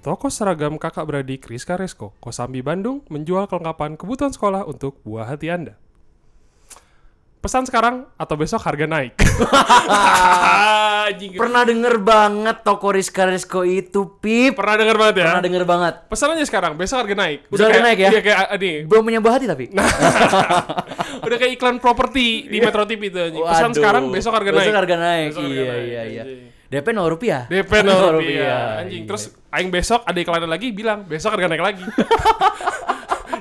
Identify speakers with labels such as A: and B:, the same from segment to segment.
A: Toko seragam kakak beradik Rizka Resko, Kosambi Bandung, menjual kelengkapan kebutuhan sekolah untuk buah hati Anda. Pesan sekarang atau besok harga naik. Anjing.
B: Gitu. Pernah denger banget toko Rizka Rizko itu, Pip.
A: Pernah denger banget ya?
B: Pernah denger banget.
A: Pesan aja sekarang, besok harga naik.
B: Besok harga
A: kayak,
B: naik ya?
A: Iya kayak ah, nih,
B: Belum menyembah hati tapi.
A: Nah, udah kayak iklan properti di Metro TV itu. anjing. Pesan
B: Waduh.
A: sekarang besok harga naik.
B: Besok harga naik.
A: Besok harga
B: iya,
A: naik,
B: iya, iya.
A: anjing.
B: DP 0 rupiah.
A: DP nol rupiah. Anjing. Terus aing besok ada iklan lagi bilang besok harga naik lagi.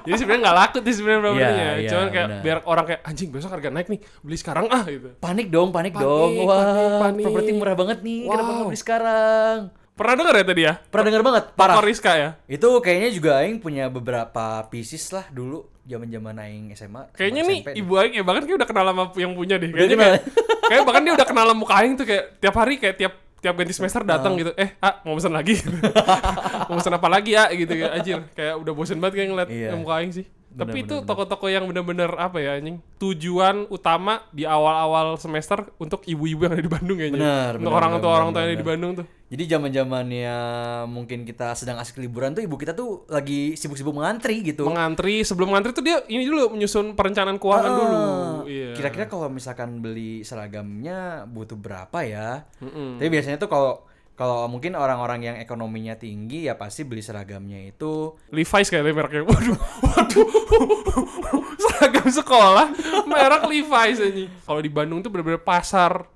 A: Jadi sebenarnya nggak laku tuh sebenarnya berapa
B: Iya,
A: ininya.
B: iya,
A: Cuman kayak
B: benar.
A: biar orang kayak anjing besok harga naik nih beli sekarang ah gitu.
B: Iya. panik dong, panik,
A: Panik,
B: dong.
A: panik,
B: Wah,
A: panik.
B: properti murah banget nih. Kenapa
A: Wow.
B: nggak beli sekarang?
A: Pernah denger ya tadi ya?
B: Pernah denger banget, parah.
A: Parah. Rizka ya.
B: Itu kayaknya juga aing punya beberapa pieces lah dulu zaman-zaman aing SMA. sama
A: Kayaknya nih
B: SMP.
A: ibu aing ya bahkan kayak udah kenal sama yang punya deh. Kayaknya
B: kenal
A: kayak, kayak bahkan dia udah kenal sama muka aing tuh kayak tiap hari kayak tiap tiap ganti semester datang gitu. Eh, ah mau pesan lagi. mau pesan apa lagi ya gitu kayak anjir. Kayak udah bosen banget kayak ngeliat
B: Iya.
A: muka aing sih.
B: Bener,
A: Tapi
B: bener,
A: itu toko-toko yang bener-bener apa ya anjing Tujuan utama di awal-awal semester Untuk ibu-ibu yang ada di Bandung kayaknya
B: Bener,
A: Untuk
B: bener,
A: orang
B: bener,
A: tua orang tua
B: bener,
A: yang ada di
B: bener.
A: Bandung tuh
B: Jadi zaman-zamannya mungkin kita sedang asik liburan tuh ibu kita tuh lagi sibuk-sibuk mengantri gitu.
A: Mengantri, sebelum mengantri tuh dia ini dulu menyusun perencanaan keuangan dulu
B: Ah,
A: Iya.
B: Kira-kira kalau misalkan beli seragamnya butuh berapa ya?
A: Mm-mm.
B: Tapi biasanya tuh kalau kalau mungkin orang-orang yang ekonominya tinggi ya pasti beli seragamnya itu
A: Levi's kayaknya mereknya. Waduh, waduh. Seragam sekolah merek Levi's ini. Kalau di Bandung tuh bener-bener pasar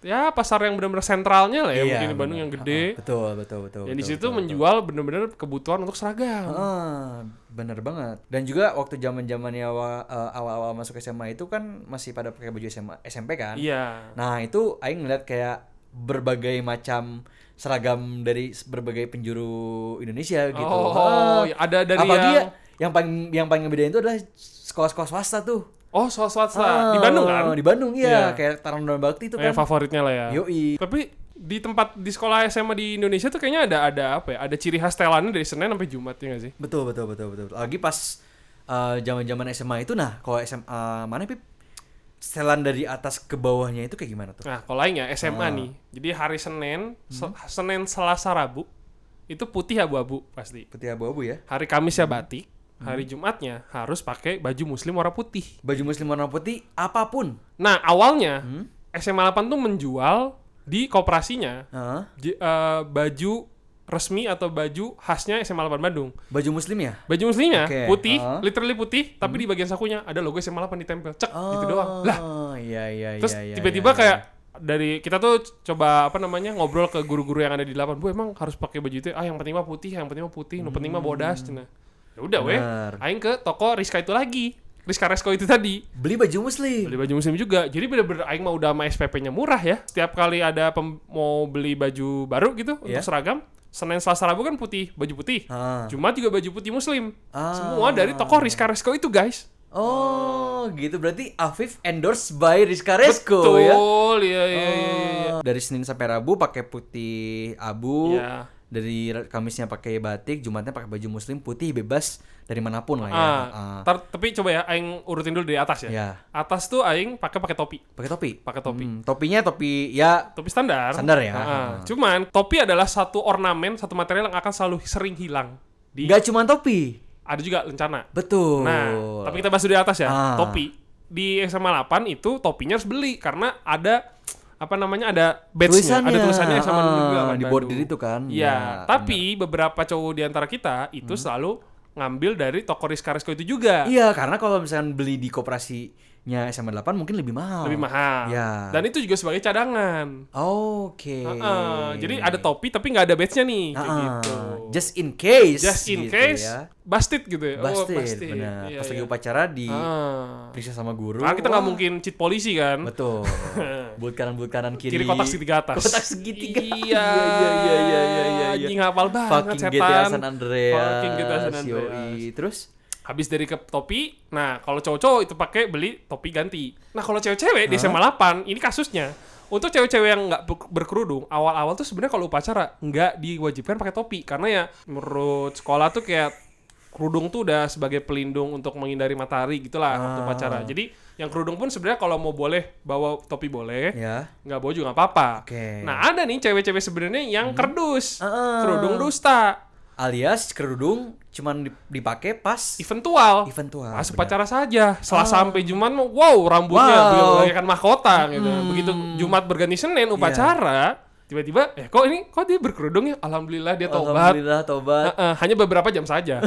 A: ya pasar yang bener-bener sentralnya lah ya mungkin di Bandung
B: benar.
A: yang gede.
B: Ah, betul, betul, betul.
A: yang di
B: Iya, betul,
A: situ
B: betul, betul.
A: menjual bener-bener kebutuhan untuk seragam.
B: Ah, bener banget. Dan juga waktu zaman-zamannya awa- eh, awal-awal masuk SMA itu kan masih pada pakai baju SMA SMP kan?
A: Iya.
B: Nah itu Aing ngeliat kayak berbagai macam seragam dari s- berbagai penjuru Indonesia gitu.
A: Oh,
B: Ah,
A: ya ada dari
B: apalagi
A: yang
B: ya, yang paling yang paling ngebedain itu adalah sekolah-sekolah swasta tuh.
A: Oh, soal swasta
B: Ah,
A: di Bandung kan?
B: Di Bandung iya,
A: Iya.
B: kayak Taruna Bakti itu
A: Eh,
B: kan.
A: favoritnya lah ya.
B: Yoi.
A: Tapi di tempat di sekolah SMA di Indonesia tuh kayaknya ada ada apa ya? Ada ciri khas telannya dari Senin sampai Jumat ya nggak sih?
B: Betul betul betul betul. betul. Lagi pas eh, zaman-zaman SMA itu nah, kalau SMA mana Pip? Setelan dari atas ke bawahnya itu kayak gimana tuh?
A: Nah, kalau lainnya SMA
B: Ah.
A: nih. Jadi hari
B: Hmm.
A: Senin, Se- Senin, Selasa, Rabu itu putih abu-abu pasti.
B: Peti abu-abu ya.
A: Hari Kamisnya batik,
B: Hmm.
A: hari Jumatnya harus pakai baju muslim warna putih.
B: Baju muslim warna putih apapun.
A: Nah, awalnya
B: Hmm.
A: SMA 8 tuh menjual di koperasinya
B: Heeh.
A: j- eh, baju resmi atau baju khasnya SMA 8 Bandung.
B: Baju muslim ya?
A: Baju muslimnya
B: Oke,
A: putih,
B: ah.
A: literally putih, tapi di bagian sakunya ada logo SMA 8 ditempel. Cek gitu doang. Lah,
B: Oh, iya iya
A: Terus
B: iya, iya,
A: tiba-tiba
B: iya,
A: kayak
B: iya.
A: dari kita tuh c- coba apa namanya ngobrol ke guru-guru yang ada di 8. Bu emang harus pakai baju itu. Ah yang penting mah putih, yang penting mah putih, yang penting mah bodas cenah. Ya udah weh.
B: Hmm. Benar.
A: Aing ke toko Rizka itu lagi. Rizka Resko itu tadi
B: beli baju muslim.
A: beli baju muslim juga. Jadi bener-bener aing mah udah sama SPP-nya murah ya. Setiap kali ada pem- mau beli baju baru gitu
B: Iya.
A: untuk seragam, Senin Selasa Rabu kan putih, baju putih.
B: Ah.
A: Jumat juga baju putih muslim.
B: Ah.
A: Semua dari toko Rizka Resko itu, guys.
B: Oh, gitu berarti Afif endorse by Rizka Resko
A: Betul,
B: ya.
A: iya iya iya. iya.
B: Oh, Dari Senin sampai Rabu pakai putih abu.
A: Iya.
B: Dari Ra- Kamisnya pakai batik, Jumatnya pakai baju muslim putih bebas dari manapun lah ya.
A: Ah,
B: Ah,
A: tar- tapi coba ya aing urutin dulu dari atas ya.
B: Ya.
A: Atas tuh aing pakai pakai topi,
B: Pakai topi.
A: pakai topi.
B: Hmm, topinya topi ya
A: Topi standar.
B: Standar ya.
A: Ah, ah.
B: Ah.
A: Cuman topi adalah satu ornamen, satu material yang akan selalu sering hilang. Di
B: nggak cuma topi.
A: ada juga lencana.
B: Betul.
A: Nah, tapi kita bahas dulu di atas ya.
B: Ah.
A: Topi di SMA 8 itu topinya harus beli karena ada apa namanya ada badge-nya, ada
B: Tulisannya.
A: tulisannya SMA
B: Ah,
A: juga
B: di
A: Bandung.
B: bordir itu kan.
A: Iya,
B: Ya,
A: tapi beberapa cowok di antara kita itu selalu ngambil dari toko Rizka Resko itu juga.
B: Iya, karena kalau misalkan beli di koperasinya SMA 8 mungkin lebih mahal.
A: lebih mahal.
B: Ya.
A: Dan itu juga sebagai cadangan.
B: Oke.
A: Heeh, jadi ada topi tapi nggak ada badge-nya nih, kayak
B: Ah,
A: gitu.
B: Just in case.
A: Just in
B: gitu
A: case,
B: ya.
A: busted gitu ya.
B: Busted,
A: busted.
B: benar.
A: Iya,
B: Pas lagi
A: iya.
B: upacara di
A: Ah.
B: periksa sama guru.
A: Karena kita nggak
B: Wah,
A: mungkin cheat polisi kan.
B: Betul. bulat kanan bulat kanan kiri.
A: Kiri kotak segitiga atas.
B: Kotak segitiga.
A: Iya,
B: iya iya iya iya iya. iya.
A: Anjing hafal banget
B: Fucking
A: setan.
B: GTA San Andreas.
A: Fucking GTA San
B: yoi.
A: Andreas.
B: Terus
A: Habis dari ke topi, nah kalau cowok-cowok itu pakai beli topi ganti. Nah kalau cewek-cewek di SMA 8, ini kasusnya. Untuk cewek-cewek yang nggak ber- berkerudung, awal-awal tuh sebenarnya kalau upacara nggak diwajibkan pakai topi. Karena ya menurut sekolah tuh kayak kerudung tuh udah sebagai pelindung untuk menghindari matahari gitulah waktu
B: Ah.
A: upacara. Jadi yang kerudung pun sebenarnya kalau mau boleh bawa topi boleh
B: ya.
A: nggak bawa juga nggak apa-apa.
B: Oke. Hmm.
A: Nah ada nih cewek-cewek sebenarnya yang kerdus,
B: Ah.
A: kerudung dusta.
B: alias kerudung cuman dip- dipakai pas
A: eventual
B: eventual.
A: Masuk
B: benar.
A: pacara Nah, saja. Setelah sampai Jumat mau wow rambutnya
B: Ah. Wow. Hmm.
A: beliau bagaikan mahkota gitu. Begitu Jumat berganti Senin upacara,
B: Iya.
A: tiba-tiba eh kok ini kok dia berkerudung ya? Alhamdulillah dia tobat.
B: Alhamdulillah tobat.
A: Heeh, hanya beberapa jam saja.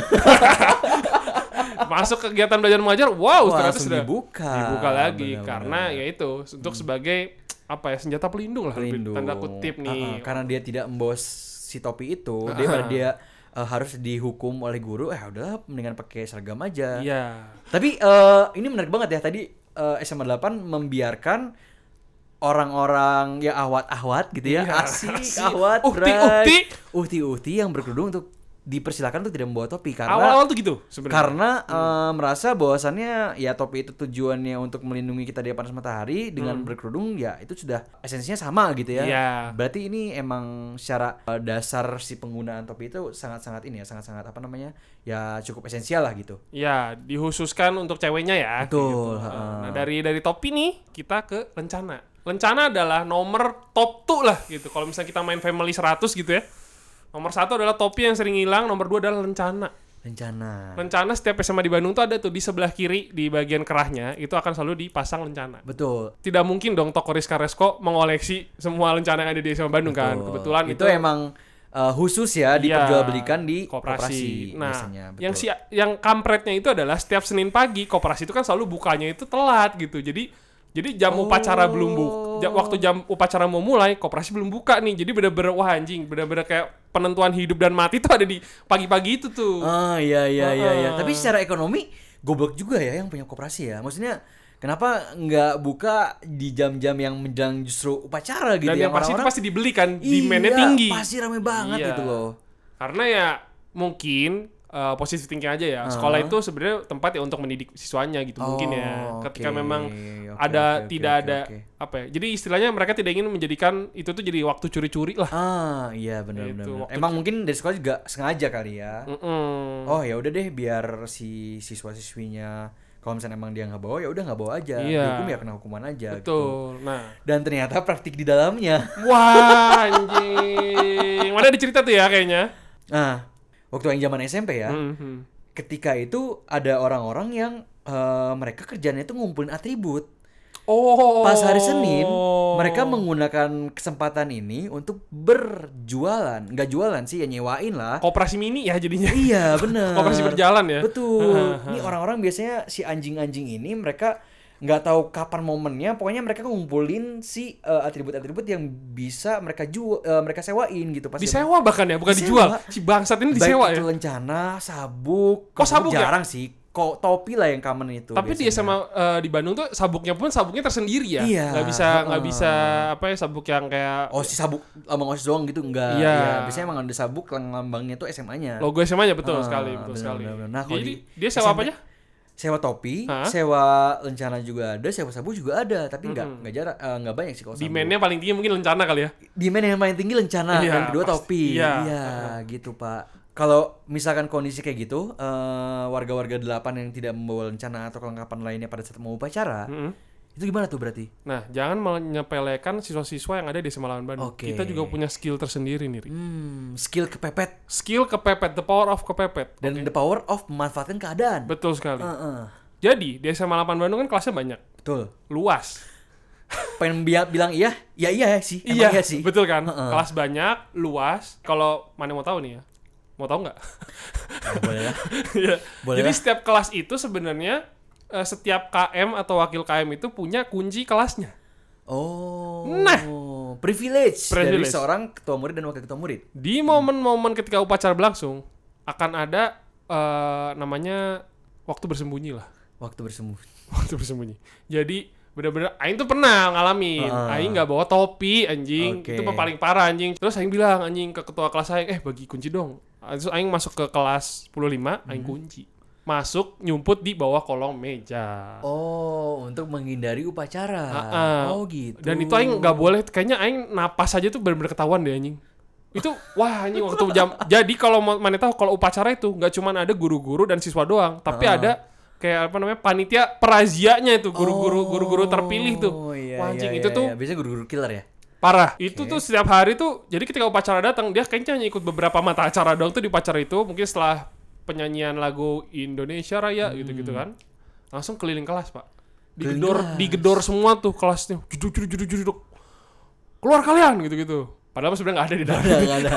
A: Masuk kegiatan belajar mengajar, wow,
B: Wah,
A: ternyata
B: langsung
A: Nah, sudah
B: dibuka.
A: dibuka lagi
B: Benar-benar.
A: karena ya itu untuk sebagai apa ya senjata pelindung lah lebih
B: Hmm. Pelindung.
A: tanda kutip nih.
B: Ah, ah, karena dia tidak membawa s- si topi itu, dia dia eh, harus dihukum oleh guru. Eh udah mendingan pakai seragam aja.
A: Iya.
B: Tapi eh, ini menarik banget ya tadi eh, SMA 8 membiarkan orang-orang ya ahwat-ahwat gitu ya.
A: Iya,
B: asik,
A: asik.
B: ahwat,
A: Uhti-uhti.
B: bray. Uhti-uhti yang berkerudung untuk dipersilakan untuk tidak membawa topi karena
A: Awal-awal tuh gitu sebenarnya.
B: karena eh, merasa bahwasannya ya topi itu tujuannya untuk melindungi kita dari panas matahari dengan berkerudung ya itu sudah esensinya sama gitu ya.
A: Hmm. Iya.
B: Berarti ini emang secara eh, dasar si penggunaan topi itu sangat-sangat ini ya, sangat-sangat apa namanya? ya cukup esensial lah gitu.
A: Ya, dihususkan untuk ceweknya ya.
B: Betul,
A: gitu.
B: heeh.
A: Nah, dari dari topi nih kita ke lencana. Lencana adalah nomor top 2 lah gitu. Kalau misalnya kita main family 100 gitu ya. Nomor satu adalah topi yang sering hilang, nomor dua adalah
B: Nah.
A: lencana.
B: Rencana.
A: Lencana setiap SMA di Bandung tuh ada tuh di sebelah kiri di bagian kerahnya itu akan selalu dipasang lencana.
B: Betul.
A: Tidak mungkin dong toko Rizka Resko mengoleksi semua lencana yang ada di SMA Bandung kan.
B: Betul.
A: Kebetulan
B: itu,
A: itu,
B: emang eh, khusus ya diperjualbelikan di
A: Iya, koperasi.
B: koperasi
A: Nah,
B: biasanya. Betul.
A: yang si yang kampretnya itu adalah setiap Senin pagi koperasi itu kan selalu bukanya itu telat gitu. Jadi jadi jam
B: Oh.
A: upacara belum buka, waktu jam upacara mau mulai koperasi belum buka nih. Jadi bener-bener wah anjing, bener-bener kayak penentuan hidup dan mati tuh ada di pagi-pagi itu tuh.
B: Ah iya iya iya iya.
A: Heeh.
B: Tapi secara ekonomi goblok juga ya yang punya koperasi ya. Maksudnya kenapa nggak buka di jam-jam yang menjelang justru upacara gitu
A: dan
B: ya
A: yang pasti itu
B: orang-orang-
A: pasti dibelikan,
B: Iya,
A: demandnya tinggi.
B: Pasti rame banget
A: Iya.
B: gitu loh.
A: Karena ya mungkin eh, positive thinking aja ya. Sekolah itu sebenarnya tempat ya untuk mendidik siswanya gitu mungkin
B: Oh,
A: ya. Ketika
B: oke,
A: memang
B: oke,
A: ada
B: oke, oke,
A: tidak
B: oke,
A: ada
B: oke.
A: apa ya. Jadi istilahnya mereka tidak ingin menjadikan itu tuh jadi waktu curi-curi lah.
B: Ah iya benar
A: Itu Hmm.
B: benar. benar.
A: waktu
B: Emang mungkin dari sekolah juga sengaja kali ya.
A: Mm-mm.
B: Oh ya udah deh biar si siswa-siswinya kalau misalnya emang dia nggak bawa ya udah nggak bawa aja.
A: Iya.
B: Dihukum ya kena hukuman aja gitu.
A: Betul. Nah,
B: Dan ternyata praktik di dalamnya.
A: wah anjing. Mana ada cerita tuh ya kayaknya.
B: Nah, waktu yang zaman SMP ya.
A: Mhm.
B: ketika itu ada orang-orang yang eh, mereka kerjanya itu ngumpulin atribut.
A: Oh.
B: Pas hari Senin, mereka menggunakan kesempatan ini untuk berjualan. Nggak jualan sih, ya nyewain lah.
A: koperasi mini ya jadinya.
B: Iya, bener.
A: Koperasi berjalan ya.
B: Betul. Ini orang-orang biasanya si anjing-anjing ini mereka nggak tahu kapan momennya, pokoknya mereka ngumpulin si eh, atribut-atribut yang bisa mereka jual, mereka sewain gitu pas zaman-
A: Disewa bahkan ya, bukan
B: Disewa.
A: dijual. Si bangsat ini disewa
B: Baik
A: ya.
B: itu lencana, sabuk.
A: Oh, sabuk ya?
B: jarang sih. Kok topi lah yang common itu.
A: Tapi di
B: biasanya.
A: SMA eh, di Bandung tuh sabuknya pun sabuknya tersendiri ya.
B: Iya,
A: Nggak bisa nggak
B: heeh.
A: bisa apa ya sabuk yang kayak
B: osis Oh, sabuk abang osis doang gitu enggak
A: Iya.
B: ya, biasanya emang ada sabuk lang- lambangnya tuh SMA-nya
A: logo SMA nya betul
B: Ah,
A: sekali, betul
B: benar,
A: sekali.
B: benar, benar. Nah, kalau
A: Jadi
B: di
A: dia sewa apa
B: SMP?
A: aja?
B: sewa topi
A: Hah?
B: sewa lencana juga ada sewa sabuk juga ada tapi enggak enggak jarak eh, enggak banyak sih kalau sabuk
A: Demand-nya paling tinggi mungkin lencana kali ya.
B: demand yang paling tinggi lencana
A: Iya,
B: yang kedua
A: pasti.
B: topi
A: Iya.
B: gitu pak kalau misalkan kondisi kayak gitu eh, warga-warga delapan yang tidak membawa lencana atau kelengkapan lainnya pada saat mau upacara
A: Mm-mm.
B: itu gimana tuh berarti
A: Nah, jangan menyepelekan siswa-siswa yang ada di SMA lawan Bandung.
B: Oke.
A: Kita juga punya skill tersendiri nih. Ri.
B: hmm, skill kepepet
A: Skill kepepet, the power of kepepet.
B: dan the power of memanfaatkan keadaan
A: Betul sekali.
B: Heeh.
A: Jadi, di SMA 8 Bandung kan kelasnya banyak,
B: betul
A: luas.
B: pengen bi- bilang iya ya iya sih emang iya sih
A: betul kan?
B: Heeh.
A: Kelas banyak, luas. Kalau mana mau tahu nih ya? Mau tahu nggak?
B: Oh, boleh lah.
A: Iya.
B: Boleh
A: Jadi
B: lah.
A: setiap kelas itu sebenarnya eh, setiap KM atau wakil KM itu punya kunci kelasnya.
B: Oh.
A: Nah.
B: privilege, dari
A: Privilege.
B: seorang ketua murid dan wakil ketua murid.
A: Di momen-momen ketika upacara berlangsung akan ada eh, namanya waktu bersembunyi lah,
B: Waktu bersemu.
A: waktu bersembunyi. Jadi bener-bener Aing tuh pernah ngalamin
B: Ah.
A: Aing nggak bawa topi anjing
B: Oke.
A: Itu paling parah anjing Terus Aing bilang anjing ke ketua kelas Aing Eh bagi kunci dong Terus Aing masuk ke kelas 15 Aing
B: Hmm.
A: kunci Masuk nyumput di bawah kolong meja
B: Oh, untuk menghindari upacara.
A: Ah, ah.
B: Oh gitu.
A: Dan itu aing nggak boleh, kayaknya aing napas aja tuh benar-benar ketahuan deh anjing. Itu wah anjing waktu jam. Jadi kalau mau- mana tahu kalau upacara itu nggak cuma ada guru-guru dan siswa doang, tapi
B: Ah.
A: ada kayak apa namanya panitia perazianya itu guru-guru guru-guru terpilih tuh.
B: Oh, iya,
A: wah anjing
B: iya,
A: itu
B: iya,
A: tuh
B: iya. biasanya guru-guru killer ya.
A: Parah. Itu tuh setiap hari tuh, jadi ketika upacara datang, dia kayaknya hanya ikut beberapa mata acara doang tuh di upacara itu. Mungkin setelah penyanyian lagu Indonesia Raya
B: Hmm.
A: gitu-gitu kan. Langsung keliling kelas, Pak. Digedor, digedor semua tuh kelasnya. Juduk, juduk, juduk, juduk. Keluar kalian gitu-gitu. Padahal sebenarnya nggak ada di dalam.
B: Nggak, nggak ada.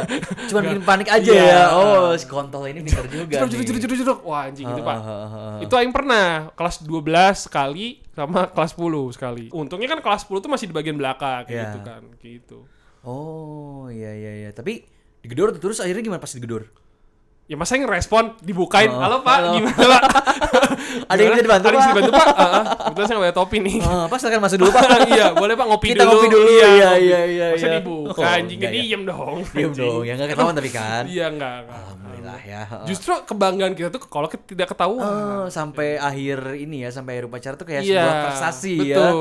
B: Cuman bikin panik aja
A: Iya.
B: ya. Oh, si kontol ini pintar juga.
A: Juduk, juduk,
B: nih.
A: juduk, juduk, juduk. Wah, anjing gitu, Pak.
B: Ah, ah, ah, ah.
A: Itu aing pernah kelas 12 sekali sama kelas 10 sekali. Untungnya kan kelas 10 tuh masih di bagian belakang kayak
B: Iya.
A: gitu kan, gitu.
B: Oh, iya iya iya. Tapi digedor tuh, terus akhirnya gimana pas digedor?
A: Ya masa yang respon dibukain,
B: Oh,
A: halo pak,
B: halo.
A: gimana pak?
B: Ada
A: Gimana?
B: yang bisa dibantu,
A: Ada yang bisa
B: Pak?"
A: dibantu pak? Ah, ah. Kebetulan saya nggak pakai topi nih.
B: Ah, Pak silakan masuk dulu, Pak.
A: iya, boleh pak ngopi
B: Kita
A: dulu.
B: ngopi dulu, iya,
A: ngopi.
B: iya, iya,
A: Masa
B: iya.
A: dibuka,
B: Oh,
A: anjingnya
B: enggak, ya.
A: diem dong.
B: Diam
A: anjing.
B: dong, ya enggak ketahuan tapi kan.
A: Iya enggak. enggak.
B: Alhamdulillah ya. Ah.
A: Justru kebanggaan kita tuh kalau kita tidak ketahuan.
B: Oh, sampai akhir ini ya, sampai akhir upacara tuh kayak
A: Iya,
B: sebuah prestasi ya.
A: betul.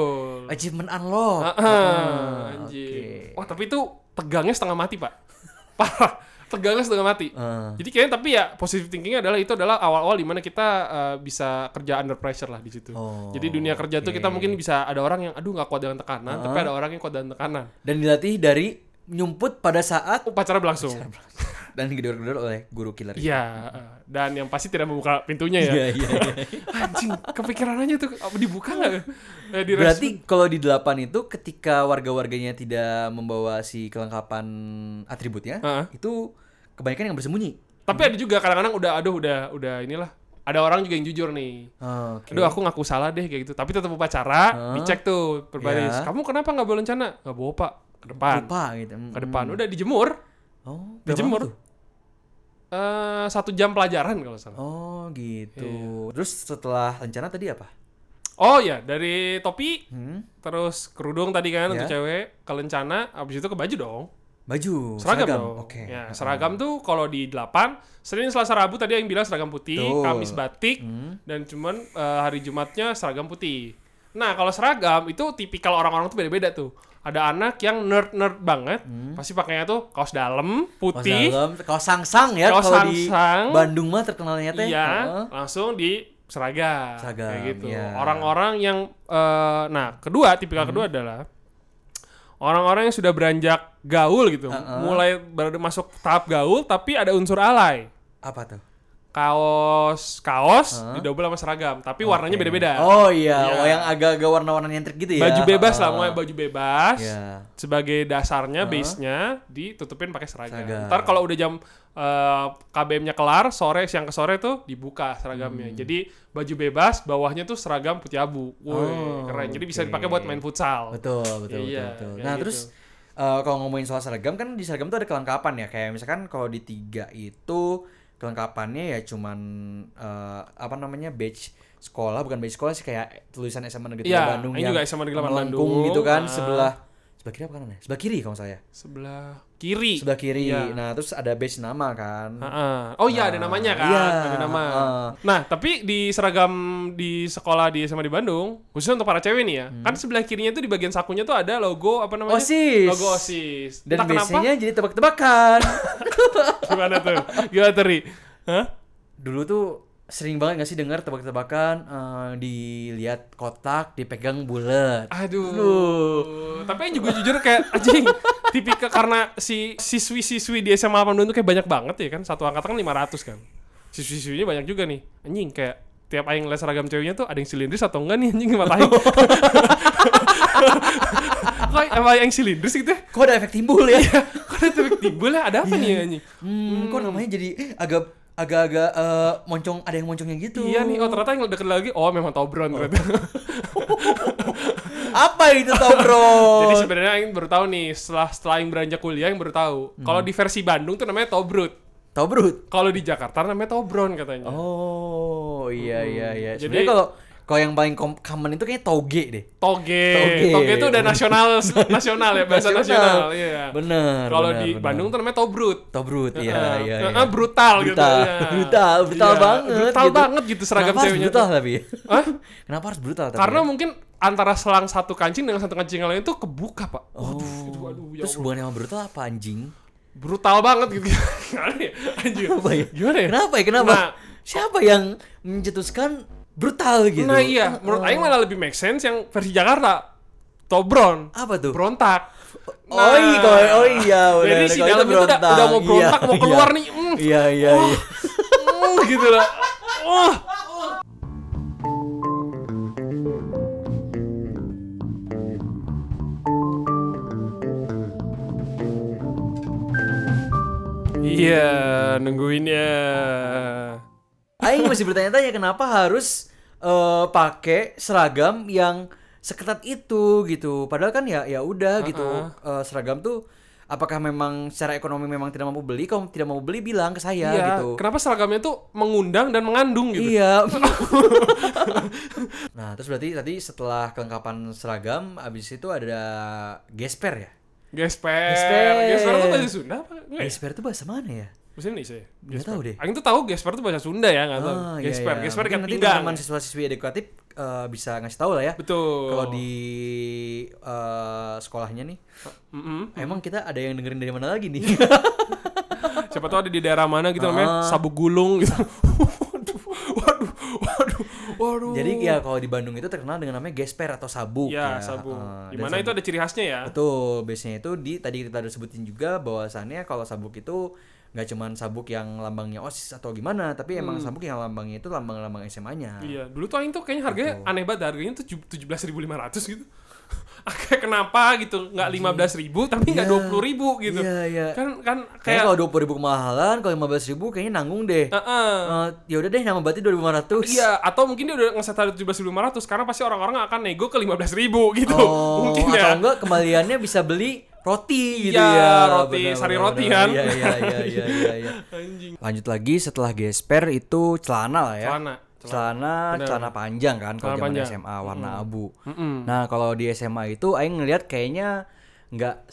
B: Achievement unlock.
A: Ah,
B: Ah,
A: anjing.
B: oke.
A: Wah, tapi itu tegangnya setengah mati, Pak. Parah. Tegangnya setengah mati.
B: Ah.
A: Jadi kayaknya tapi ya positive thinking adalah itu adalah awal-awal dimana kita eh, bisa kerja under pressure lah di situ.
B: Oh,
A: Jadi dunia kerja tuh kita mungkin bisa ada orang yang aduh nggak kuat dengan tekanan, tapi ada orang yang kuat dengan tekanan.
B: Dan dilatih dari nyumput pada saat
A: Upacara berlangsung.
B: dan digedor-gedor oleh guru killer.
A: Iya. eh, Dan yang pasti tidak membuka pintunya ya.
B: Iya, iya, iya.
A: Anjing, kepikiran aja tuh apa dibuka nggak? Eh, di
B: Berarti kalau di delapan itu ketika warga-warganya tidak membawa si kelengkapan atributnya,
A: Heeh.
B: itu kebanyakan yang bersembunyi.
A: Tapi ada juga kadang-kadang udah aduh udah udah inilah. Ada orang juga yang jujur nih.
B: Oh, Oke.
A: Aduh aku ngaku salah deh kayak gitu. Tapi tetap upacara,
B: Hah?
A: dicek tuh perbaris.
B: Iya.
A: Kamu kenapa nggak bawa lencana? Nggak bawa pak. Ke depan.
B: Lupa gitu. Mm,
A: Ke depan. Udah dijemur.
B: mm. Oh, berapa
A: Dijemur.
B: waktu?
A: Eh satu jam pelajaran kalau salah.
B: Oh, gitu.
A: Iya.
B: Terus setelah rencana tadi apa?
A: Oh ya dari topi,
B: Hmm?
A: terus kerudung tadi kan untuk
B: Iya.
A: cewek, ke lencana, abis itu ke baju dong.
B: Baju,
A: Seragam, dong.
B: Oke.
A: Ya, seragam tuh kalau di 8, Senin, Selasa, Rabu tadi yang bilang seragam putih,
B: Betul. Hmm.
A: Kamis batik, dan cuman eh, hari Jumatnya seragam putih. Nah, kalau seragam itu tipikal orang-orang tuh beda-beda tuh. Ada anak yang nerd-nerd banget, pasti pakainya tuh kaos dalam,
B: Hmm. Kaos
A: putih,
B: dalam, kaos Oh, sangsang ya
A: Kaos
B: kalau di
A: sangsang.
B: Bandung mah terkenalnya teh.
A: iya,
B: Heeh.
A: langsung di seragam,
B: Seragam,
A: kayak gitu.
B: iya. Hmm.
A: Orang-orang yang eh, nah, kedua tipikal kedua adalah orang-orang yang sudah beranjak gaul gitu, mulai baru masuk tahap gaul tapi ada unsur alay.
B: Apa tuh?
A: kaos kaos didobel sama seragam tapi warnanya beda-beda
B: Oh iya,
A: Iya.
B: oh yang agak-agak warna-warna nyentrik gitu ya.
A: baju bebas lah
B: Heeh.
A: mau baju bebas
B: Iya.
A: sebagai dasarnya base nya ditutupin pakai seragam
B: Seragam.
A: ntar kalau udah jam eh, KBM-nya kelar sore siang ke sore tuh dibuka seragamnya
B: Hmm.
A: jadi baju bebas bawahnya tuh seragam putih abu woi
B: Oh,
A: keren jadi bisa
B: oke.
A: dipakai buat main futsal
B: Betul, betul,
A: Iya, kayak
B: betul, betul. Nah,
A: gitu.
B: terus eh, kalau ngomongin soal seragam kan di seragam tuh ada kelengkapan ya. Kayak misalkan kalau di tiga itu kelengkapannya ya cuman eh, apa namanya badge sekolah bukan badge sekolah sih kayak tulisan SMA Negeri
A: Iya,
B: Tiga Bandung
A: ini
B: yang
A: juga SMA Negeri Tiga
B: melengkung
A: Bandung.
B: gitu kan
A: Ah.
B: sebelah sebelah kiri apa kanan ya? Sebelah kiri kalau saya.
A: sebelah kiri
B: Sebelah kiri.
A: Iya.
B: Nah, terus ada badge nama kan.
A: Ha-ha. Oh iya ada namanya kan,
B: Iya,
A: ada nama.
B: ha-ha.
A: Nah tapi di seragam di sekolah di SMA di Bandung, khususnya untuk para cewek nih
B: Hmm.
A: ya, kan sebelah kirinya tuh di bagian sakunya tuh ada logo apa namanya?
B: OSIS.
A: Logo osis.
B: Dan
A: Entah
B: biasanya jadi tebak-tebakan.
A: kenapa? Gimana tuh? Gimana tuh, Ri? Hah?
B: Dulu tuh sering banget gak sih dengar tebak-tebakan eh, dilihat kotak dipegang bulat.
A: Aduh. Tapi yang juga jujur kayak anjing. Tipikal karena si siswi-siswi di SMA 8 Bandung tuh kayak banyak banget ya kan. Satu angkatan kan 500 kan. Siswi-siswinya banyak juga nih. Anjing kayak tiap aing les seragam ceweknya tuh ada yang silindris atau enggak nih anjing mata aing. Kok emang aing silindris gitu ya?
B: Kok ada efek timbul ya?
A: Kok ada tipe timbul ya? Ada apa nih anjing?
B: Hmm, kok namanya jadi agak agak-agak eh, moncong ada yang moncongnya gitu.
A: Iya nih, oh ternyata yang deket lagi, oh memang Tobron ternyata.
B: Apa itu toh, Bro?
A: Jadi sebenarnya yang baru tahu nih, setelah setelah yang beranjak kuliah yang baru tahu. Kalau di versi Bandung tuh namanya Tobrut.
B: Tobrut.
A: Kalau di Jakarta namanya Tobron katanya.
B: Oh, iya iya iya.
A: Jadi-
B: Sebenarnya kalau kalau yang paling kom- common itu kayaknya toge deh.
A: Toge.
B: Toge.
A: Toge. itu udah nasional nasional ya, bahasa nasional. Iya.
B: Bener.
A: Kalau
B: bener,
A: di
B: bener.
A: Bandung tuh namanya Tobrut.
B: Tobrut, iya
A: Heeh.
B: iya.
A: Heeh,
B: iya.
A: brutal, gitu.
B: Brutal,
A: iya.
B: brutal, brutal
A: Iya,
B: banget.
A: Brutal banget gitu seragam
B: Kenapa harus
A: ceweknya
B: brutal
A: tuh.
B: tapi?
A: Hah?
B: Kenapa harus brutal tapi?
A: Karena mungkin antara selang satu kancing dengan satu kancing yang lain tuh kebuka, Pak.
B: Oh.
A: Waduh, itu aduh, ya
B: Terus
A: Allah.
B: hubungannya sama brutal apa anjing?
A: brutal banget gitu. Gimana ya? Anjir.
B: Kenapa ya?
A: Gimana ya?
B: Kenapa ya? Kenapa?
A: Nah.
B: Siapa yang mencetuskan brutal
A: iya.
B: gitu? Ah,
A: Nah iya, menurut Aing malah lebih make sense yang versi Jakarta. Tobron.
B: Apa tuh?
A: Berontak. Nah.
B: Oh iya, kalau- oh iya, udah,
A: Jadi
B: udah,
A: si
B: kalau
A: dalam itu udah, udah mau
B: Iya,
A: berontak, mau
B: iya.
A: keluar nih. Mm,
B: Iya, iya, iya.
A: mm, gitu loh. Oh. Iya, nungguinnya.
B: Aing masih bertanya-tanya kenapa harus eh, pakai seragam yang seketat itu gitu. Padahal kan ya ya udah gitu Eh, seragam tuh apakah memang secara ekonomi memang tidak mampu beli? Kalau tidak mau beli bilang ke saya
A: Iya,
B: gitu.
A: kenapa seragamnya tuh mengundang dan mengandung gitu?
B: Iya. nah, terus berarti tadi setelah kelengkapan seragam abis itu ada gesper ya?
A: Gesper.
B: Gesper.
A: Gesper tuh bahasa Sunda apa? Enggak ya?
B: Gesper itu bahasa mana ya?
A: Bahasa Indonesia ya?
B: Nggak tahu deh.
A: Aku tuh tahu Gesper tuh bahasa Sunda ya, nggak tahu.
B: Ah, iya,
A: Gesper,
B: iya.
A: Gesper
B: Mungkin
A: kan
B: nanti
A: pinggang.
B: teman-teman siswa-siswi edukatif eh, bisa ngasih tahu lah ya.
A: Betul.
B: Kalau di eh, sekolahnya nih,
A: Mm-mm.
B: emang kita ada yang dengerin dari mana lagi nih?
A: Siapa tahu ada di daerah mana gitu namanya
B: Ah.
A: sabuk gulung gitu. waduh, waduh, waduh, waduh.
B: Jadi ya kalau di Bandung itu terkenal dengan namanya gesper atau sabuk.
A: ya, sabuk.
B: eh,
A: Di
B: dan
A: mana itu ada ciri khasnya ya?
B: Betul, biasanya itu di tadi kita udah sebutin juga bahwasannya kalau sabuk itu nggak cuman sabuk yang lambangnya OSIS atau gimana, tapi emang sabuk yang lambangnya itu lambang-lambang SMA-nya.
A: Hmm. Iya, dulu tuh aing tuh kayaknya harganya aneh banget harganya tuh 17.500 gitu. Kayak kenapa gitu? Nggak 15.000 tapi nggak
B: Iya.
A: 20.000 gitu.
B: Iya, iya.
A: Kan kan
B: Kayaknya
A: kayak
B: kalau 20 ribu kemahalan, kalau 15 ribu kayaknya nanggung deh.
A: Heeh.
B: Eh, ya udah deh nama berarti 2500.
A: Iya, atau mungkin dia udah ngeset harga 17.500 karena pasti orang-orang akan nego ke 15.000 gitu.
B: Oh,
A: mungkin
B: atau
A: ya.
B: enggak kembaliannya bisa beli roti gitu
A: Iya,
B: ya.
A: roti,
B: Benar,
A: sari
B: benar,
A: roti
B: benar.
A: kan.
B: Iya, iya, iya, iya, iya, iya.
A: Anjing.
B: Lanjut lagi setelah gesper itu celana lah ya.
A: Celana, celana.
B: Celana,
A: Benar.
B: celana panjang kan kalau
A: Celana
B: zaman
A: panjang.
B: SMA warna abu.
A: Mm-mm.
B: Nah, kalau di SMA itu aing ngelihat kayaknya nggak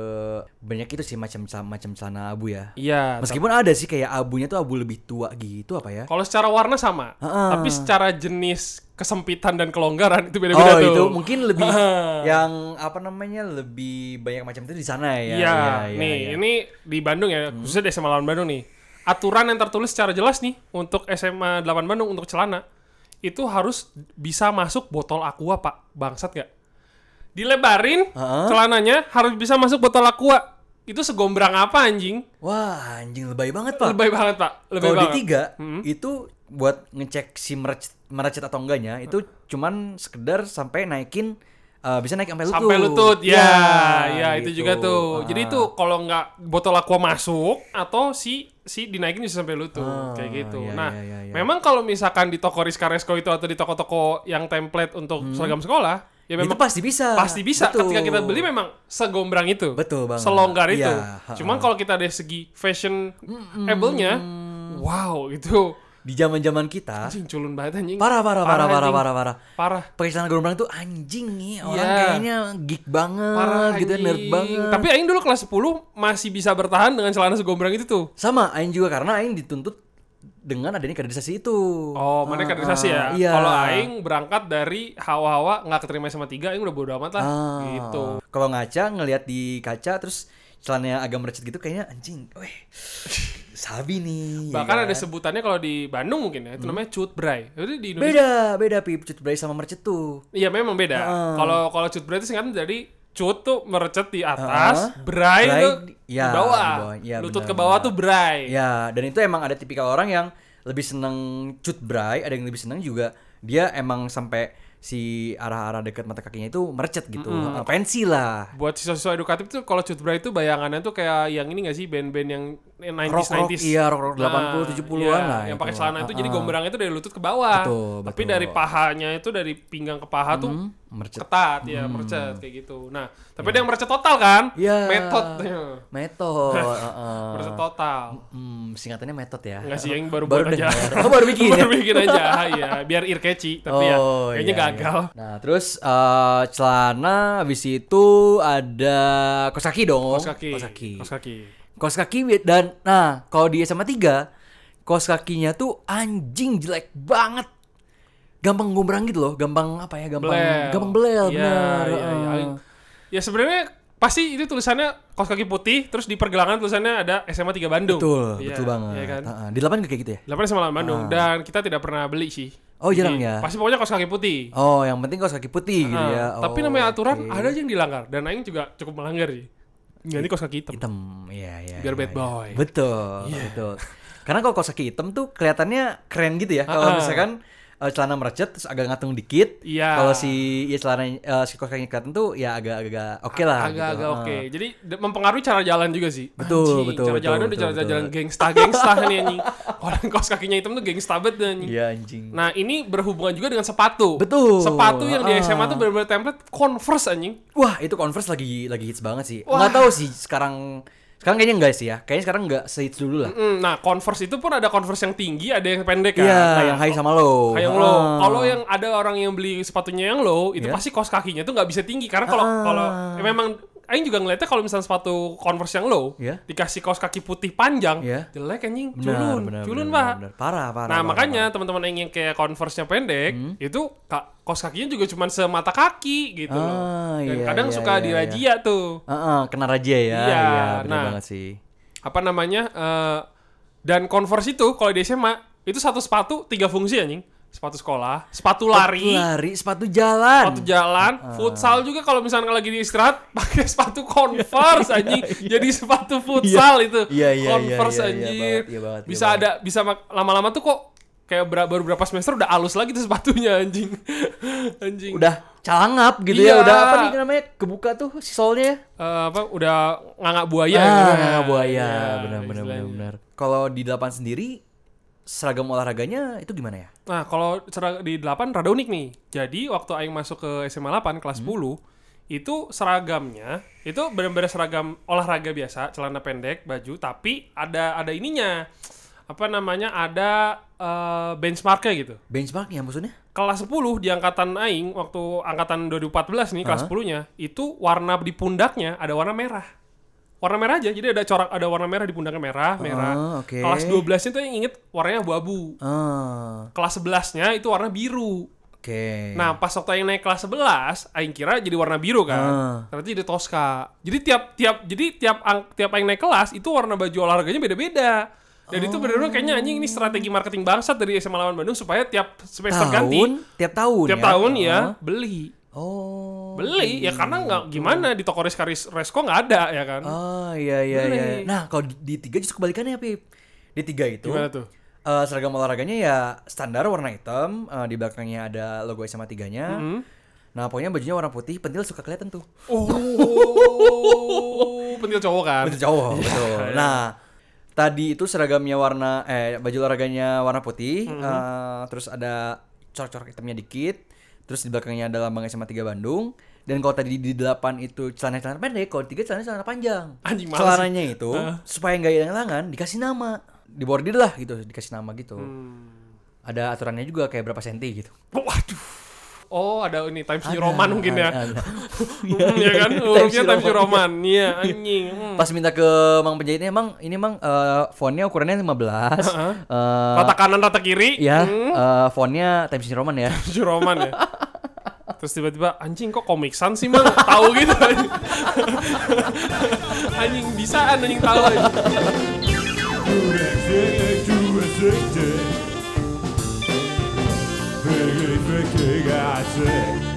B: sebanyak itu sih macam macam celana abu ya.
A: Iya. tapi-
B: Meskipun ada sih kayak abunya tuh abu lebih tua gitu apa ya?
A: Kalau secara warna sama,
B: Heeh.
A: tapi secara jenis kesempitan dan kelonggaran itu beda-beda
B: Oh,
A: tuh.
B: itu mungkin lebih
A: Heeh.
B: yang apa namanya? lebih banyak macam itu di sana
A: Iya,
B: ya. Iya,
A: nih
B: iya. Hmm.
A: ini di Bandung ya, khususnya di SMA 8 Bandung nih. Aturan yang tertulis secara jelas nih untuk SMA 8 Bandung untuk celana itu harus bisa masuk botol aqua, Pak. Bangsat gak? Dilebarin
B: Heeh.
A: celananya harus bisa masuk botol aqua. Itu segombrang apa anjing?
B: Wah, anjing lebay banget, Pak.
A: Lebay banget, Pak. Lebay
B: Kalau di
A: banget.
B: tiga itu buat ngecek si merecet, merecet atau enggaknya itu cuman sekedar sampai naikin eh, bisa naik sampai lutut.
A: sampai lutut ya ya, itu
B: gitu.
A: juga tuh jadi
B: Ah.
A: itu kalau nggak botol aqua masuk atau si si dinaikin bisa sampai lutut kayak gitu
B: iya,
A: nah
B: iya, iya, iya.
A: memang kalau misalkan di toko Rizka Resko itu atau di toko-toko yang template untuk seragam sekolah ya
B: Hmm. itu
A: memang pasti,
B: pasti bisa.
A: bisa
B: Betul.
A: ketika kita beli memang segombrang itu
B: Betul banget.
A: selonggar
B: Iya,
A: itu
B: ha-ha. Hmm.
A: cuman kalau kita dari segi fashion able-nya wow itu
B: di zaman-zaman kita
A: anjing culun banget anjing
B: parah parah parah
A: anjing.
B: parah parah parah.
A: parah
B: Pakai celana gerombrang tuh anjing nih orang
A: Iya.
B: kayaknya geek banget
A: parah
B: gitu
A: anjing.
B: nerd banget.
A: Tapi aing dulu kelas 10 masih bisa bertahan dengan celana segombrang itu tuh.
B: sama aing juga karena aing dituntut dengan adanya kaderisasi itu.
A: Oh, mana
B: Ah,
A: kaderisasi
B: ah,
A: ya.
B: Iya.
A: Kalau aing berangkat dari hawa-hawa nggak keterima sama tiga, aing udah bodo amat lah.
B: Ah.
A: Gitu.
B: Kalau ngaca ngelihat di kaca terus celananya agak merecet gitu kayaknya anjing. Weh. Sabi nih. ya
A: Bahkan
B: kan?
A: ada sebutannya kalau di Bandung mungkin ya, itu
B: Hmm.
A: namanya cut bray. Jadi di Indonesia
B: beda, beda pip cut bray sama mercet tuh.
A: Iya memang beda.
B: Ah.
A: Kalau kalau cut bray itu singkatan dari cut tuh merecet di atas, bray,
B: Ah. Bray
A: itu
B: di- ya,
A: di bawah.
B: di bawah. Ya,
A: Lutut
B: benar,
A: ke bawah
B: benar.
A: tuh bray.
B: Ya, dan itu emang ada tipikal orang yang lebih seneng cut bray, ada yang lebih seneng juga dia emang sampai si arah-arah dekat mata kakinya itu merecet gitu. Ah, Pensi lah.
A: Buat siswa-siswa edukatif tuh kalau cut bray itu bayangannya tuh kayak yang ini gak sih band-band yang 90s
B: Rock, rock,
A: 90s.
B: iya, rock, rock
A: Nah,
B: 80 70-an
A: iya,
B: lah.
A: Yang pakai
B: itu.
A: celana itu
B: Ah,
A: jadi
B: ah.
A: gombrangnya itu dari lutut ke bawah.
B: Betul,
A: Tapi
B: betul. Hmm.
A: dari pahanya itu dari pinggang ke paha tuh
B: mercet.
A: ketat ya, mercet kayak gitu. Nah, tapi ada yang mercet total kan?
B: Hmm. Iya.
A: Metode.
B: Metode. heeh.
A: Mercet total.
B: Hmm, singkatannya metode ya.
A: Enggak sih yang baru
B: Baru
A: buat
B: deh,
A: aja.
B: baru. Oh, baru bikin ya?
A: aja. Iya, biar ear catchy tapi ya kayaknya
B: iya,
A: gagal.
B: iya. Nah, terus eh, celana habis itu ada kos kaki dong.
A: Kos kaki.
B: Kos kaki.
A: Kos kaki.
B: Kos kaki bi- dan nah, kalau di SMA 3, kos kakinya tuh anjing jelek banget. Gampang gombrang gitu loh, gampang apa ya? Gampang
A: Blel.
B: gampang belel
A: Iya,
B: bener.
A: iya, iya.
B: eh.
A: Ya sebenarnya pasti itu tulisannya kos kaki putih terus di pergelangan tulisannya ada SMA 3 Bandung.
B: Betul,
A: Iya,
B: betul banget.
A: Iya kan?
B: Heeh, Di lapangan gak kayak gitu ya?
A: Delapan SMA Bandung dan kita tidak pernah beli sih.
B: Oh, jarang
A: Jadi,
B: ya?
A: Pasti pokoknya kaos kaki putih.
B: Oh, yang penting kaos kaki putih gitu
A: Nah,
B: ya.
A: Tapi
B: Oh,
A: namanya aturan
B: oke.
A: ada aja yang dilanggar dan Aing juga cukup melanggar sih. Ganti kaos kaki hitam.
B: hitam. Iya, iya.
A: Biar
B: iya,
A: bad
B: iya.
A: boy. Iya.
B: Betul, betul. Karena kalau kaos kaki hitam tuh kelihatannya keren gitu ya.
A: Ah.
B: Kalau misalkan eh, celana mercet terus agak ngatung dikit.
A: Iya.
B: Kalau si ya celana eh, si kaos kakinya kelihatan tuh ya agak-agak oke lah.
A: Agak-agak
B: gitu. Ah.
A: oke. Jadi d- mempengaruhi cara jalan juga sih.
B: Betul,
A: Anjing,
B: betul,
A: Cara
B: betul,
A: jalan udah
B: betul,
A: cara
B: betul.
A: jalan gangsta, gangsta nih anjing. Orang kaos kakinya hitam tuh gangsta banget nih, anjing.
B: Iya anjing.
A: Nah, ini berhubungan juga dengan sepatu.
B: Betul.
A: Sepatu yang di
B: Ah.
A: SMA tuh benar-benar template Converse anjing.
B: Wah, itu Converse lagi lagi hits banget sih.
A: Wah.
B: Nggak tahu sih sekarang sekarang kayaknya enggak sih ya. Kayaknya sekarang enggak sehits dulu lah.
A: Mm, Nah, Converse itu pun ada Converse yang tinggi, ada yang pendek kan.
B: Iya,
A: Nah,
B: yang high sama low.
A: kayak yang
B: Ah.
A: low. Kalau yang ada orang yang beli sepatunya yang low, itu
B: Iya.
A: pasti kaos kakinya tuh nggak bisa tinggi karena kalau
B: Ah.
A: kalau ya memang Aing juga ngeliatnya kalau misalnya sepatu Converse yang low,
B: Iya.
A: dikasih kaos kaki putih panjang,
B: Iya.
A: jelek anjing,
B: Benar,
A: culun,
B: benar,
A: culun
B: benar,
A: pak.
B: benar. Parah,
A: Nah
B: parah. parah, Hmm.
A: makanya teman-teman yang ingin kayak Converse-nya pendek, itu ka- kaos kakinya juga cuma semata kaki gitu loh.
B: Ah,
A: Dan
B: iya,
A: kadang
B: iya,
A: suka
B: iya,
A: dirajia tuh.
B: Ah, ah, kena raja ya.
A: Iya,
B: benar
A: nah.
B: banget sih.
A: apa namanya eh, dan converse itu kalau di SMA itu satu sepatu tiga fungsi anjing sepatu sekolah sepatu lari
B: Sepatu lari, sepatu jalan.
A: sepatu jalan
B: Ah.
A: futsal juga kalau misalnya lagi di istirahat pakai sepatu converse anjing jadi sepatu futsal itu
B: Iya, iya, iya,
A: converse
B: iya, iya,
A: anjing
B: banget, iya banget, iya
A: bisa
B: banget.
A: ada bisa mak- lama-lama tuh kok kayak ber- baru berapa semester udah halus lagi tuh sepatunya anjing anjing
B: Udah calangap gitu
A: Iya.
B: ya. Udah apa nih namanya? Kebuka tuh si solnya ya.
A: Eh, apa udah ngangak buaya
B: ah,
A: gitu.
B: buaya.
A: Iya,
B: benar benar benar
A: istilahnya.
B: benar. Kalau di delapan sendiri seragam olahraganya itu gimana ya?
A: Nah, kalau serag- di 8 rada unik nih. Jadi waktu aing masuk ke SMA 8 kelas 10, itu seragamnya itu benar-benar seragam olahraga biasa, celana pendek, baju, tapi ada ada ininya. Apa namanya? Ada eh, benchmarknya gitu.
B: Benchmarknya ya maksudnya?
A: Kelas 10 di angkatan aing waktu angkatan 2014 nih kelas 10-nya, itu warna di pundaknya ada warna merah. Warna merah aja, jadi ada corak ada warna merah di pundaknya merah, merah.
B: Ah, oke.
A: Kelas 12 itu yang inget warnanya abu-abu
B: Ah,
A: kelas 11-nya itu warna biru.
B: oke. Iya.
A: Nah, pas waktu yang naik kelas 11, aing kira jadi warna biru
B: Ah.
A: kan. Ternyata jadi Tosca. Jadi tiap tiap jadi tiap ang- tiap aing naik kelas itu warna baju olahraganya beda-beda. Dan
B: Oh.
A: itu benar-benar kayaknya anjing ini strategi marketing bangsat dari SMA Lawan Bandung supaya tiap semester
B: tahun,
A: ganti
B: tiap tahun
A: tiap
B: ya.
A: tahun ya
B: Ah.
A: beli.
B: Oh.
A: Beli ya karena nggak gimana di toko Reskaris Resko nggak ada ya kan.
B: Oh, iya iya
A: Beli.
B: iya. Nah, kalau di- di tiga justru kebalikannya, Pip. Di tiga itu
A: Gimana tuh?
B: Eh, seragam olahraganya ya standar warna hitam, eh, di belakangnya ada logo SMA 3-nya. Nah, pokoknya bajunya warna putih, pentil suka kelihatan tuh.
A: Oh, pentil cowok kan.
B: Pentil cowok, betul.
A: iya.
B: Nah, tadi itu seragamnya warna eh baju olahraganya warna putih,
A: Mhm.
B: eh, terus ada corak-corak hitamnya dikit, terus di belakangnya ada lambang SMA 3 Bandung. Dan kalau tadi di 8 itu celana-celana pendek, kalau di 3 celana-celana panjang.
A: Anjing, males sih.
B: Celananya itu supaya nggak hilang lengan dikasih nama. Dibordir lah gitu, dikasih nama gitu.
A: Hmm.
B: Ada aturannya juga kayak berapa senti gitu.
A: Waduh. Oh, ada ini Times New Roman mungkin ya.
B: Ada. Iya
A: Hmm, ya kan?
B: Times
A: Hurufnya
B: New
A: Times New
B: Roman.
A: Roman. Iya, anjing. Hmm.
B: Pas minta ke Mang penjahitnya emang ini Mang eh, fontnya ukurannya 15. eh,
A: Rata kanan, rata kiri.
B: ya
A: Hmm,
B: eh, fontnya Times New Roman ya
A: Times New Roman ya. Terus tiba-tiba anjing kok komik sans sih mang tahu gitu anjing. anjing bisaan anjing tahu anjing.
C: Perfect, perfect, perfect, perfect.